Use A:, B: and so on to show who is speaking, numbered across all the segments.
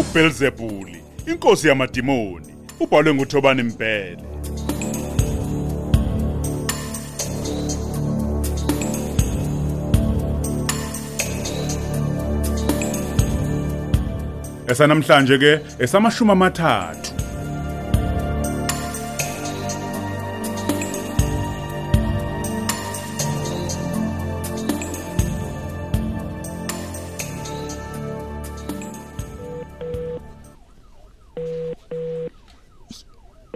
A: uBelzebuli, inkosi yamadimoni, ubhalwe nguThobani Mbhele. Esanamhlanje ke esamashumi amathathu.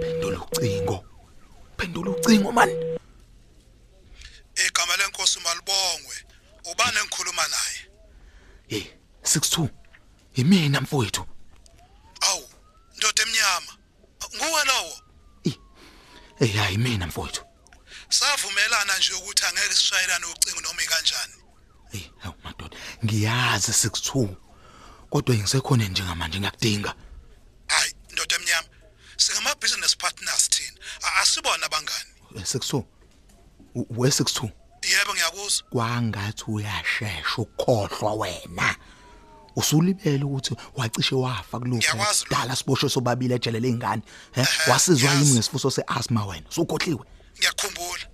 B: Phendula ucingo. Phendula ucingo man.
C: igama lenkosi malibongwe ubani engikhuluma naye
B: Hey, 62. Yimina mfowethu.
C: awu ndoda emnyama nguwe lowo
B: Hey, hayi yimina mfowethu.
C: savumelana nje ukuthi angeke sishayelane ucingo noma ikanjani
B: Hey, hawu madoda. Ngiyazi 62. Kodwa ngisekhona njengamanje ngiyakudinga.
C: hayi ndoda emnyama singamabhizinesi partners thina A- asibona abangani
B: Eh, 62. U- We 62.
C: yebo ngiyakuzwa
B: Kwangathi uyashesha ukukhohlwa wena. Usulibele ukuthi wacishe wafa
C: Ngiyakwazi
B: kulokho.
C: lokho.
B: Dala siboshwe sobabili ejele leingane. He?
C: Ehhe,
B: Wasizwa yimi
C: ngiyazi.
B: ngesifuso seasthma wena. Usukhohliwe.
C: ngiyakhumbula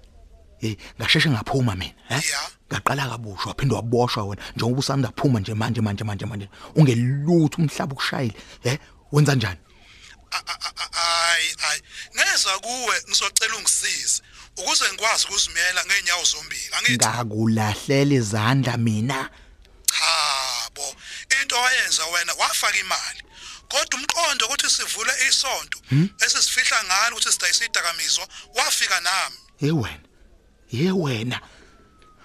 B: hey ngasheshe ngaphuma mina he
C: Ya.
B: ngaqala kabushwa waphinde waboshwa wena njengoba usanda phuma nje manje manje manje manje ungelutho umhlaba ukushayile he wenza njani
C: A- a- a- a- hayi hayi ngeza kuwe ngizocela ungisize ukuze ngikwazi ukuzimela ngeenyawo zombili angithi
B: ngakulahlela izandla mina
C: chabo into oyenza wena wafaka imali kodwa umqondo ukuthi sivule isonto esisifihla ngalo ukuthi sidayisa idakamizwa wafika nami
B: ye wena ye wena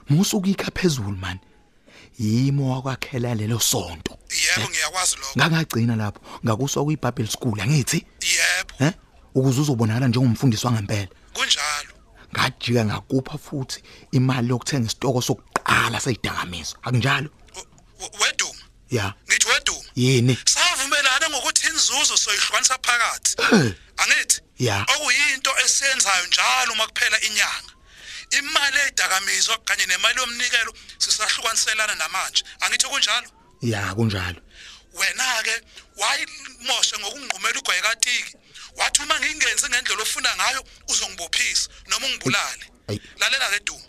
B: musuka ikha phezulu man yimo wakwakhela lelo sonto
C: yebo ngiyakwazi lokho
B: ngangagcina lapho ngakuswa kuyiBhayibheli school angithi
C: yebo
B: he ukuze uzobonakala njengomfundisi wangempela
C: kunjalo
B: ngajika ngakupha futhi imali yokuthenga isitoko sokuqala seyidakamizwa akunjalo
C: U- u- weduma
B: ya
C: ngithi weduma
B: yini
C: savumelana ngokuthi inzuzo soyihlukanisa phakathi angithi
B: Ya.
C: okuyinto esiyenzayo njalo uma kuphela inyanga imali edakamizwa kanye nemali yomnikelo sisahlukaniselana namanje angithi kunjalo
B: ya kunjalo
C: wena ke wayimoshe ngokungqumela ugwaye katiki wathi uma ngingenzi ngendlela ofuna ngayo uzongibophisa noma ungibulale
B: Ayi.
C: lalela ke Duma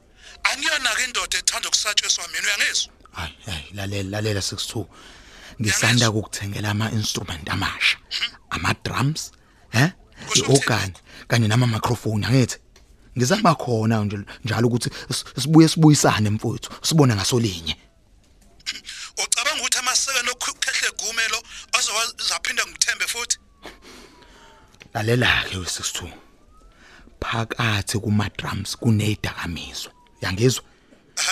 C: angiyona ke indoda ethanda ukusatshiswa mina uyangizwa
B: hayi hayi lalela lalela 62 ngisanda
C: Yangizwa.
B: ukukuthengela ama instrument amasha ama drums he
C: Kusho ukuthini
B: organ kanye nama microphone angithi ngizama khona nje njalo ukuthi s- sibuye sibuyisane mfowethu sibone ngasolinye
C: ucabanga ukuthi amasekelo okukhehle gumelo azowazaphinda ngithembe futhi
B: lalela ke we62 phakathi kuma drums kuneyidakamizwa yangizwa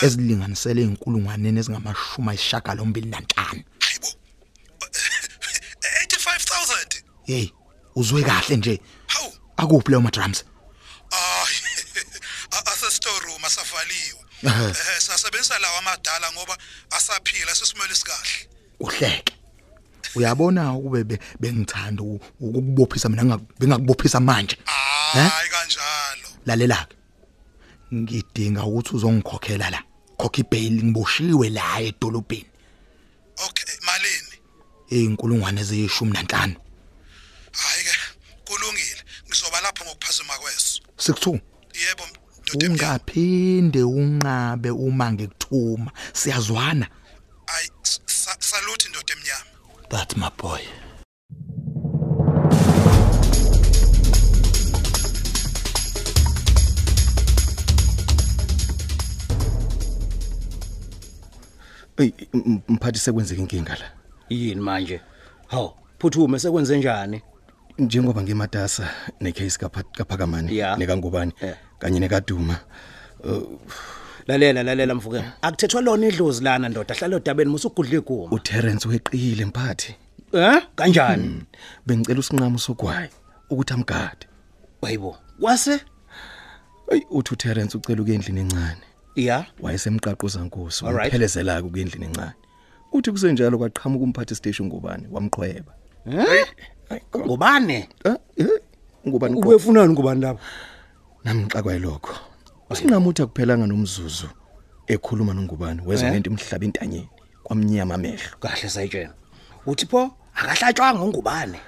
B: ezilinganisele inkulungwane ezingamashumi ayishaka lombili nanhlanu
C: hayibo 85000
B: hey uzwe kahle nje
C: hawu
B: akuphi leyo ma drums
C: Ay. Asestore room asavaliwe.
B: Ehhe.
C: Eh sasebenzisa lawa amadala ngoba asaphila sesimele sikahle.
B: uhleke uyabona ukube be- bengithanda uku- ukukubophisa mina nginga- bengakubophisa manje
C: Hayi kanjalo.
B: lalela ke ngidinga ukuthi uzongikhokhela la khokha ibail ngiboshiwe la edolobheni
C: Okay, malini?
B: eyinkulungwane eziyishumi nanhlanu
C: Hayi ke, kulungile. Ngizoba lapho ngokuphazima kweso.
B: 62
C: Yebo, ndoda emnyama.
B: ungaphinde unqabe uma ngikuthuma siyazwana
C: Hayi sa- salute ndoda emnyama.
B: that's my boy
D: Ey m- mphathi sekwenzeka inkinga la.
E: yini manje hawu phuthume sekwenze njani
D: Njengoba ngimatasa necase kaphakamani
E: Ya.
D: nekangubani
E: Eh.
D: kanye nekaduma.
E: lalela lalela mvuke akuthethwa lona idlozi lana ndoda hlala odabeni musugudle iguma
D: uTerence weqile mphathi.
E: eh kanjani
D: Bengicela usinqamo sogwayi ukuthi amgade.
E: wayibo kwase
D: Ey uthi uTerence ucela uke endlini encane.
E: ya
D: Wayesemqaqoza nkosi
E: Alright.
D: umphelezela ke endlini encane. Uthi kusenjalo kwaqhamuka umphathi station ngubani wamqhweba.
E: eh
D: Ay, go-
E: ngubane
D: Ah, eh, Ngubani qho-
E: ubefunani ngubani lapha
D: nami ngixakwaye lokho. Usinqamo uthi akuphelanga nomzuzu ekhuluma nongubani wezwa
E: Eh.
D: ngento imhlaba intanyeni kwamnyama amehlo.
E: kahle sayitshena uthi pho akahlatshwanga ungubane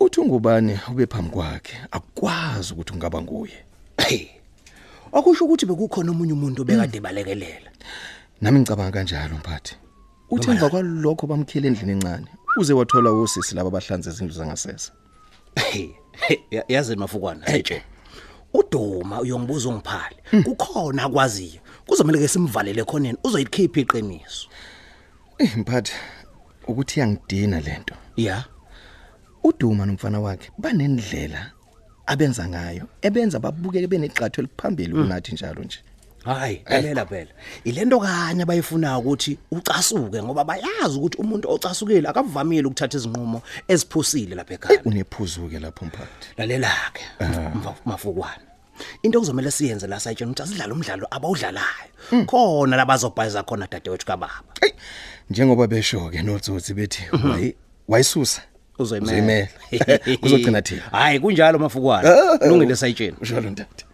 D: uthi ungubani ube phambi kwakhe akwazi ukuthi ungaba nguye
E: Hey. Okusho ukuthi bekukhona omunye umuntu obekade balekelela.
D: nami ngicabanga kanjalo mphathi uthi emva kwalokho bamkhile endlini encane uze wathola osisi laba abahlanze izindlu zangasese
E: Hey. Ya- Yazi mafukwana nje. Uduma uyongibuza ungiphale. Kukhona akwaziyo. Kuzomeleke simvalele khoneni uzoyikhipha iqiniso.
D: eh mphathi ukuthi iyangidina lento
E: Yeah.
D: uduma nomfana wakhe banendlela abenza ngayo ebenza babukeke beneqatho eliphambili kunathi njalo nje
E: Hayi,
D: Eh,
E: lalela phela. Ilento kanye abayifunayo ukuthi ucasuke ngoba bayazi ukuthi umuntu ocasukile akavamile ukuthatha izinqumo eziphusile lapha
D: Eh.
E: ekhaya.
D: unephuzuke lapho mphathi
E: Lalelake
D: Eh.
E: mva- mafukwana. Into kuzomela siyenze la sayitshena ukuthi asidlale umdlalo
D: Mm.
E: abawudlalayo. Khona labazobhayiza khona dadewethu kababa.
D: Ey, njengoba besho ke notsotsi bethi wayi wayisusa
E: Uzoyimela.
D: uzogcina thina Eh.
E: Hayi kunjalo mafukwana. Kulungile sayitshena.
D: ushalo ntata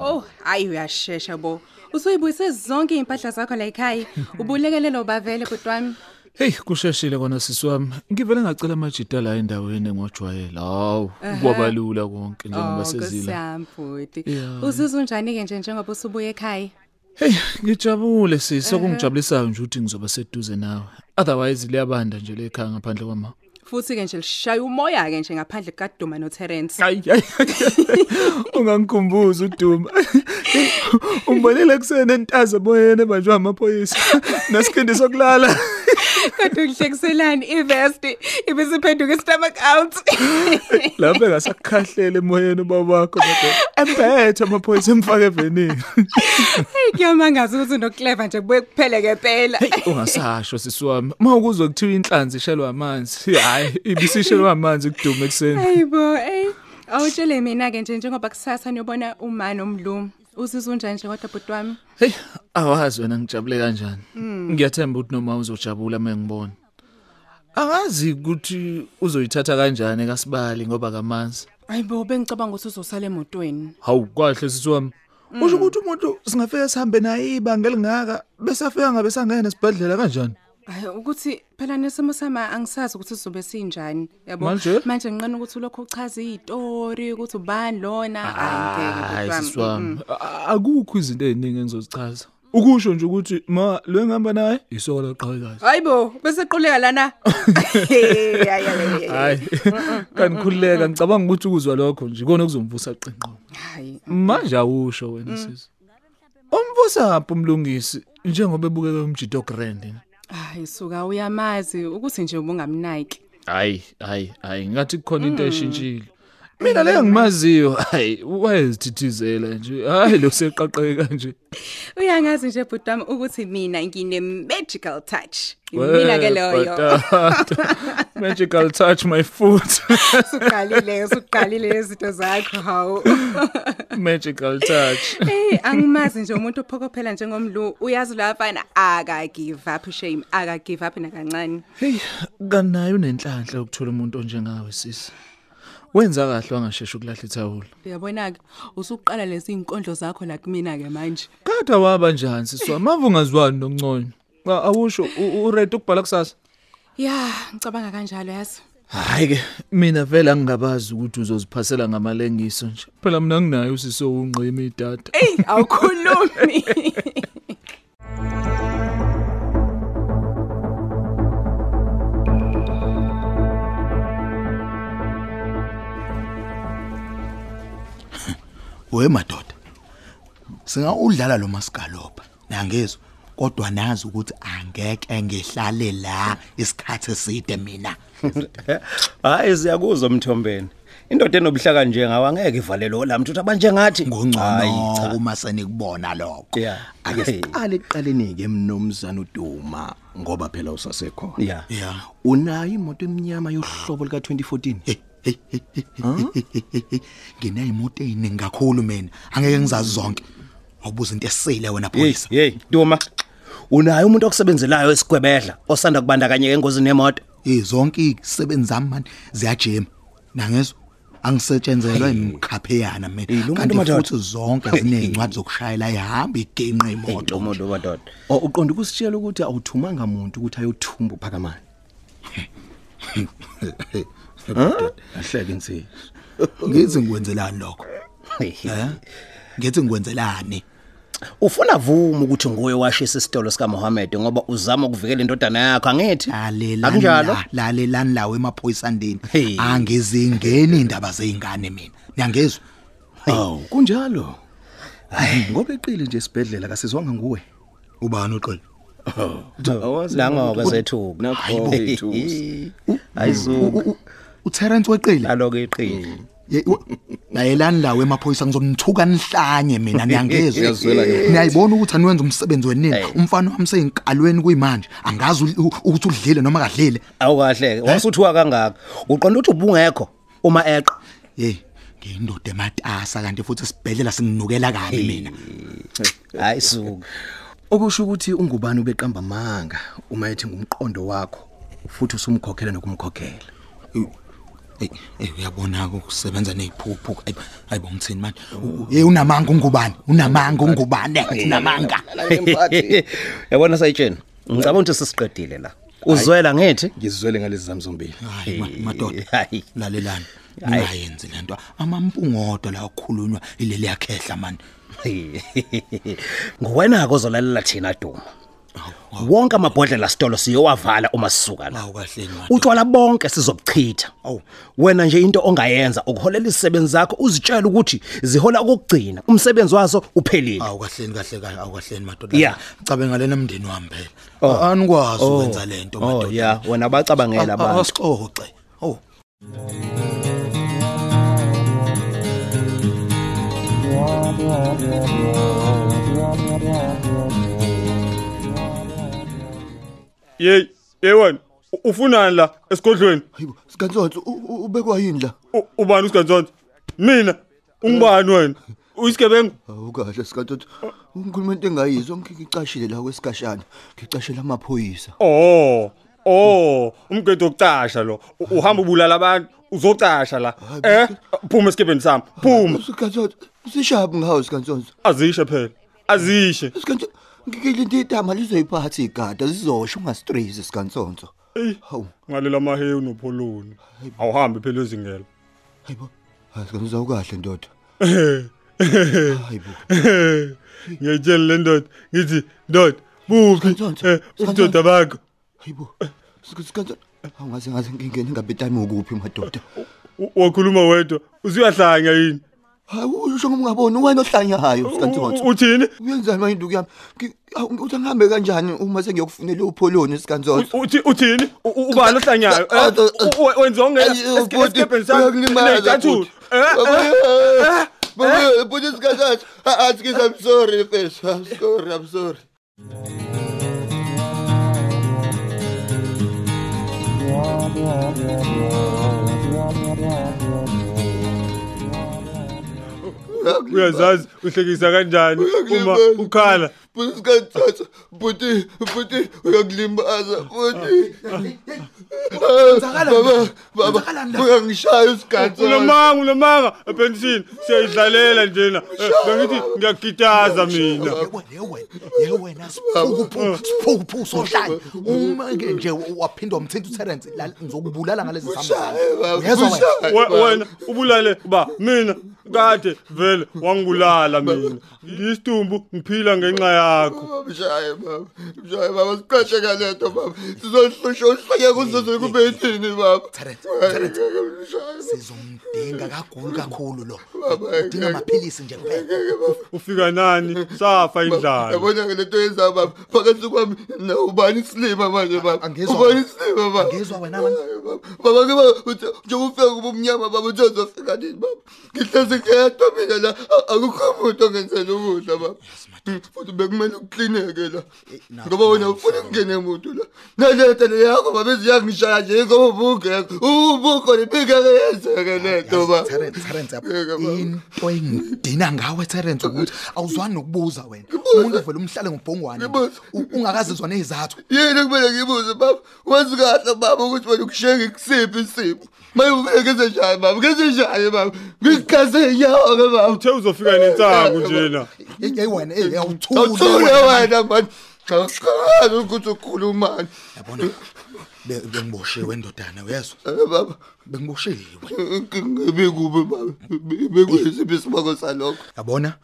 F: Oh, hayi uyashesha bo. Usuyibuyise zonke impahla zakho la ekhaya. Ubulekelelo bavele kutwami.
G: Hey kusheshile kona sisi wami ngivele ngacela amajita la endaweni engwajwayela hawu kwabalula
F: Oh,
G: konke njengoba sezila
F: Kusamfuthi.
G: Yeah.
F: Uzizwa unjani ke nje njengoba usubuye ekhaya?
G: Hey ngijabule sisi okungijabulisayo nje ukuthi ngizoba seduze nawe otherwise liyabanda nje lekhaya ngaphandle kwama
F: Futhi ke nje lishaya umoya ke nje ngaphandle kaDuma noTerence.
G: Ayi ayi ungangikhumbuza uduma umbonile kusene entaza boyena banjwa amaphoyisa nasikhindi sokulala
F: Kodwa uhlekiselani ivesti ibisiphenduka istomach out.
G: lapho engasakukhahlela emoyeni ubabakho kodwa empethe amaphoyisa emfake evenini
F: Hey, kuyamangaza ukuthi nokclever nje kubuye kuphele ke phela.
G: Hey ungasasho sisi wami mawukuzwe kuthiwa inhlanzi ishelwa amanzi hayi ibisishelwa amanzi kudume ekseni
F: Hayibo, hey. Awutshele mina ke nje njengoba kusasa niyobona uma nomlumo. Uzizwa unjani nje kodwa bhuti wami?
G: hey awazi wena ngijabule kanjani ngiyathemba ukuthi noma uzojabula mengibona angazi ukuthi uzoyithatha kanjani kasibali ngoba kamanzi
F: Hayibo bengicabanga ukuthi uzosala emotweni.
G: hawu kahle sisi wami usho ukuthi umuntu singafika sihambe naye ibanga elingaka bese afika ngabe sangena esibhedlela kanjani
F: Hayi ukuthi phela nesimo sama angisazi ukuthi sizobe sinjani yabo.
G: Manje?
F: manje nqena ukuthi lokho uchaza izitori ukuthi ubani lona
G: Ah, hayi
F: bhuti
G: sisi
F: Mm, mm.
G: wami A- akukho izinto eziningi engizozichaza ukusho nje ukuthi ma lo engihamba naye isoko laqhakazi
F: Hayibo bese quleka lana. Hey hayi hayi, hayi.
G: hayi kanikhululeka ngicabanga ukuthi ukuzwa lokho nje ikona okuzomvusa qinqo
F: Hayi.
G: manje awusho wena
F: Mm.
G: sisi umvusa phi umlungisi njengoba ebukeka umjito grand
F: Hayi suka uyamazi ukuthi nje ubungamnaki.
G: hayi hayi hayi ngathi kukhona into
F: Mm.
G: eshintshile mina leyo ngimaziyo hayi wayezithithizela nje hayi lo seqaqeke kanje
F: Uyangazi nje bhuti wami ukuthi mina ngine magical touch. Mina ke loyo.
G: magical touch my foot
F: Usuqalile usuqalile izinto zakho hawo.
G: magical touch
F: Hey, angimazi nje umuntu ophokophela njengomlu uyazi lapha aka give up shame aka give up nakancane.
G: hey kanayo nenhlanhla ukuthola umuntu onjengawe sisi wenza kahle wangashesha ukulahla ithawula
F: Uyabona ke usuqala lezi inkondlo zakho la kumina ke manje.
G: Kada waba njani siswa? Mava ungazwani noncono. A- Awusho u- u- ready ukubhala kusasa?
F: Yeah, ngicabanga kanjalo yazi.
G: Hayi ke mina vele angingabazi ukuthi uzoziphasela ngamalengiso nje. Phela mina nginayo usiso unqima idata.
F: Hey, awukhulumi.
B: we madoda singawudlala lo masigalopa nangezwe kodwa nazi ukuthi angeke ngihlale la isikhathi eside mina
E: Hayi siyakuzwa mthombeni. Indoda enobuhlaka nje ngawangeke ivalelo lamuntu ukuthi abanjengathi
B: ngongcono uma senikubona lokho
E: Yeah.
D: ake siqale ekuqaleni ke mnomzana uduma ngoba phela usasekhona
E: Yeah.
B: yeah
D: unayo imoto emnyama yohlobo lika 2014
B: ngineyimoto eyiningi kakhulu mina angeke ngizazi zonke awubuza into esile wena
E: Hey,
B: pholisa
E: hey, Duma. Unayo umuntu okusebenzelayo esigwebedla osanda kubandakanyeka engozini yemoto.
B: Eh zonke izisebenzi zami manje ziyajema. Nangezwe angisetshenzelwa imkhapheyana
E: lo
B: mina
E: muntu
B: kanti
E: madoda.
B: futhi zonke zinezincwadi zokushayela ihamba iginqe imoto
E: umuntu madoda
D: O- uqonda ukusitshela ukuthi awuthumanga muntu ukuthi ayothumba uphakamani ahleke nsi
B: ngithi ngikwenzelani lokho ngithi ngikwenzelani
E: ufuna vuma ukuthi nguwe washisa isitolo sika Mohammed ngoba uzama ukuvikela indodana yakho angithi
B: lalelani
E: akunjalo
B: la- lalelani lawo emaphoyisandini
E: Hey.
B: angizingeni indaba zeingane mina niyangezwa
D: aw Oh, kunjalo ngoba eqile nje esibedlela kasizwanga nguwe
B: ubani uqile
E: langoke zethuka
D: Nakho bethusi.
E: ayizuka
B: U- uTerence weqile
E: aloke iqili
B: Ye- u- layelani lawo emaphoyisa ngizomthuka nihlanye mina niyangezwa
D: Uyazizwela ngephutha.
B: niyayibona ukuthi aniwenza umsebenzi wenini
E: Hey.
B: umfana wami seyinkalweni kuyimanje angazi u- u- ukuthi udlile noma kadlile
E: awukahle wasuthuka kangaka uqonda ukuthi ubungekho uma eqa
B: hey ngiyindoda ematasa kanti futhi sibhedlela singinukela kabi mina
E: ayisuka
D: okusho ukuthi ungubani ubeqamba amanga uma ethi ngumqondo wakho futhi usumkhokhela nokumkhokhela
B: Ey, ey uyabona ukusebenza neziphupho Ayi- ayibo ngithini manje U- u- hey unamanga ungubani unamanga ungubane unamanga
E: yabona sayitshena ngicabanga ukuthi sesiqedile la uzwela ngithi
D: ngizizwele ngalezi zami zombili
B: hayi ma- madoda
E: hayi.
B: lalelani ningayenzi lento amampungodo la okukhulunywa ileli yakhehla mani
E: nguwena-ke ozolalela thina duma wonke amabhodlela sitolo siyowavala uma sisuka la
B: awu kahle mani
E: utshwala bonke sizobuchitha wena nje into ongayenza ukuholela izisebenzi zakho uzitshele ukuthi zihola okokugcina umsebenzi wazo uphelile
B: awu kahleni kahle kahle awu kahleni madoda
E: Yeah.
B: cabe ngalena mndeni wami phela anikwazi ukwenza lento
E: oh
B: madoda
E: ya wena bacabangela
B: Ah, ah,
E: abantu
B: asixoxe oh
H: yeyi ye wena u- ufunani la esigodlweni
B: hayibo sikanhlonhle u- u- ubekwa yini la
H: U- ubani usiganzonzo mina ungubani wena uyisigebengu
I: awukahle sikantoto ngikhuluma into engayizwa ngikhicashile la kwesigashana ngicashela amaphoyisa
H: oh oh umgqedo wokucasha lo U- uhamba ubulala abantu uzocasha la
I: Ah,
H: eh phuma esikebeni sami phuma
I: sikantoto sishabu ngawo sikantoto
H: azishe phela azishe
I: sikantoto ngikilinde idama lizoyiphatha igada zizosho ungastrezi sikantsonso
H: eyi
I: hawu
H: ngalela mahewu nopholoni awuhambi phela ezingela
I: hayibo sikantoto awukahle ndoda hayibo
H: ngiyayitshela le ndoda ngithi ndoda buphi
I: Siganzonzo,
H: eh, ubudoda bakho
I: hayibo sikantoto awungaze ngaze ngingene ngabe itime ukuphi madoda
H: U- wakhuluma wedwa usuyahlanya yini
I: hawu usho ngomngaboni wena ohlanyayo sikantoto
H: U- uthini
I: uyenzani manje induku yami Ngi- awu, uthi angihambe kanjani uma sengiyokufunela upholoni sikantsonso
H: uthi uthini U- u- ubani ohlanyayo eh?
I: Kanzo-
H: U- u- wenziwa ungena
I: uh, Ayi, uh,
H: esike-
I: bhuti,
H: esikebheni sami
I: uyakulimaza
H: ney'ntathulo
I: bhuti.
H: eh,
I: Baba, baba, bhuti isikhathi athi kithi I'm sorry first. I'm sorry, I'm sorry.
H: uyazazi uhlekisa kanjani uma
I: Uyakulimaza.
H: ukhala
I: Bhuti isikhathi bhuti bhuti uyakulimaza bhuti. Baba, baba, uyangishaya isikhathi.
H: ulamanga ulamanga epensini siyayidlalela njena Eh, bengithi ngiyagitaza mina
B: yewena siphukuphu sohlala uma-ke nje waphinda wamthinta uterence ngizokubulala ngalezi
I: Eh,
B: zambuzwa
H: We- wena ubulale ba mina kade vele wangibulala mina ngiyisidumbu ngiphila ngenxa yakho
I: Mshaye baba, mshaye baba siqashe kalento baba. Sizohlusha uhleke kuzoze kube yini baba.
B: Terence, Terence.
I: Terence.
B: sizomdinga kagulu kakhulu lo
I: Baba,
B: udinga amaphilisi nje kuphela
H: ufika nani safa indlala
I: Yabona ke lento yenza baba. Phakathi kwami na ubani isilima manje baba.
B: Angizwa.
I: Ubani isilima baba.
B: Angizwa wena, man.
I: Hhayi, baba. Baba ke baba uthi njengofika kuba umnyama baba uthi uzofika nini baba. Ngihlezi ngedwa mina la a- akukho umuntu ongenzela ukudla baba. Hmm, Futhi bekumele ukuklineke la.
B: Eh,
I: Ngoba wena ufuna ukungena umuntu la. Naletha le yakho baba eziyangishaya nje ngoba ubungekho. Ubukho libingeke yenzeke lento baba.
B: Terence, Terence, yabo,
I: Yeke, baba.
B: into engidina ngawe terence ukuthi awuzwani nokubuza wena umuntu vele umhlale ngobhongwane
I: Ngibuza.
B: u- ungakazizwa nezathu
I: yini kumele ngibuze baba wazi kahle baba ukuthi wena ukushenge kusiphi isipho Manje ufike kezeshaye baba, kezeshaye baba. Ngikhaze inyawo ke baba.
H: uthe uzofika nensangu njena
B: Hey wena, hey
I: Uthule
B: awuthule.
I: wena manje. Ngakukhala ukuthi ukhulumani.
B: Yabona? be- Bengiboshiwe endodana, uyezwa?
I: Eh, Baba,
B: Bengiboshiwe.
I: ngibe kube baba. Bekwesiphi isibako salokho?
B: Yabona?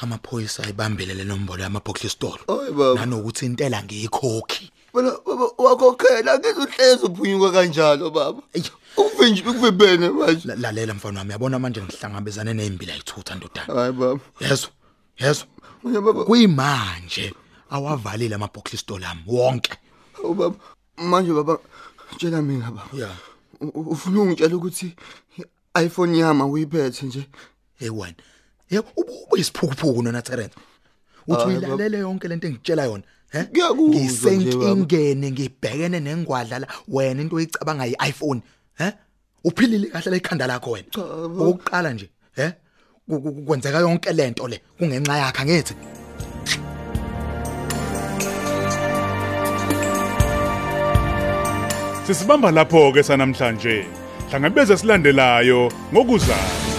B: Amaphoyisa ayibambile le nombolo yamabhokisi store.
I: Oy baba.
B: Nanokuthi intela ngiyikhokhi.
I: Bona baba wakhokhela ngizohleza uphunyuka kanjalo baba. Uvinje ukuvimbene manje.
B: La- Lalela mfana wami, yabona manje ngihlangabezane nembila ithutha ndodana.
I: Hayi baba.
B: Yezwa? Yezwa?
I: Manje baba,
B: Kuyimanje awavalile amabhokisi store lami wonke.
I: hawu baba. Manje baba, tshela mina baba.
B: Yeah.
I: U- u- Ufuna ungitshela ukuthi iPhone yami uyiphethe nje.
B: hey wena yebo ubuyisiphukuphuku nona Terence uthi uyilalele yonke lento engitshela yona he
I: Ah, Ngiyakuzwa nje, baba.
B: ngisenkingeni ngibhekene nengwadla la wena into oyicabanga yi-iPhone he uphilile kahle la ikhanda lakho wena ukuqala nje he ku- ku- ku- kwenzeka yonke lento le kungenxa yakhe angithi
A: Sisibamba lapho ke sanamhlanje. Hlangabeze silandelayo ngokuzayo.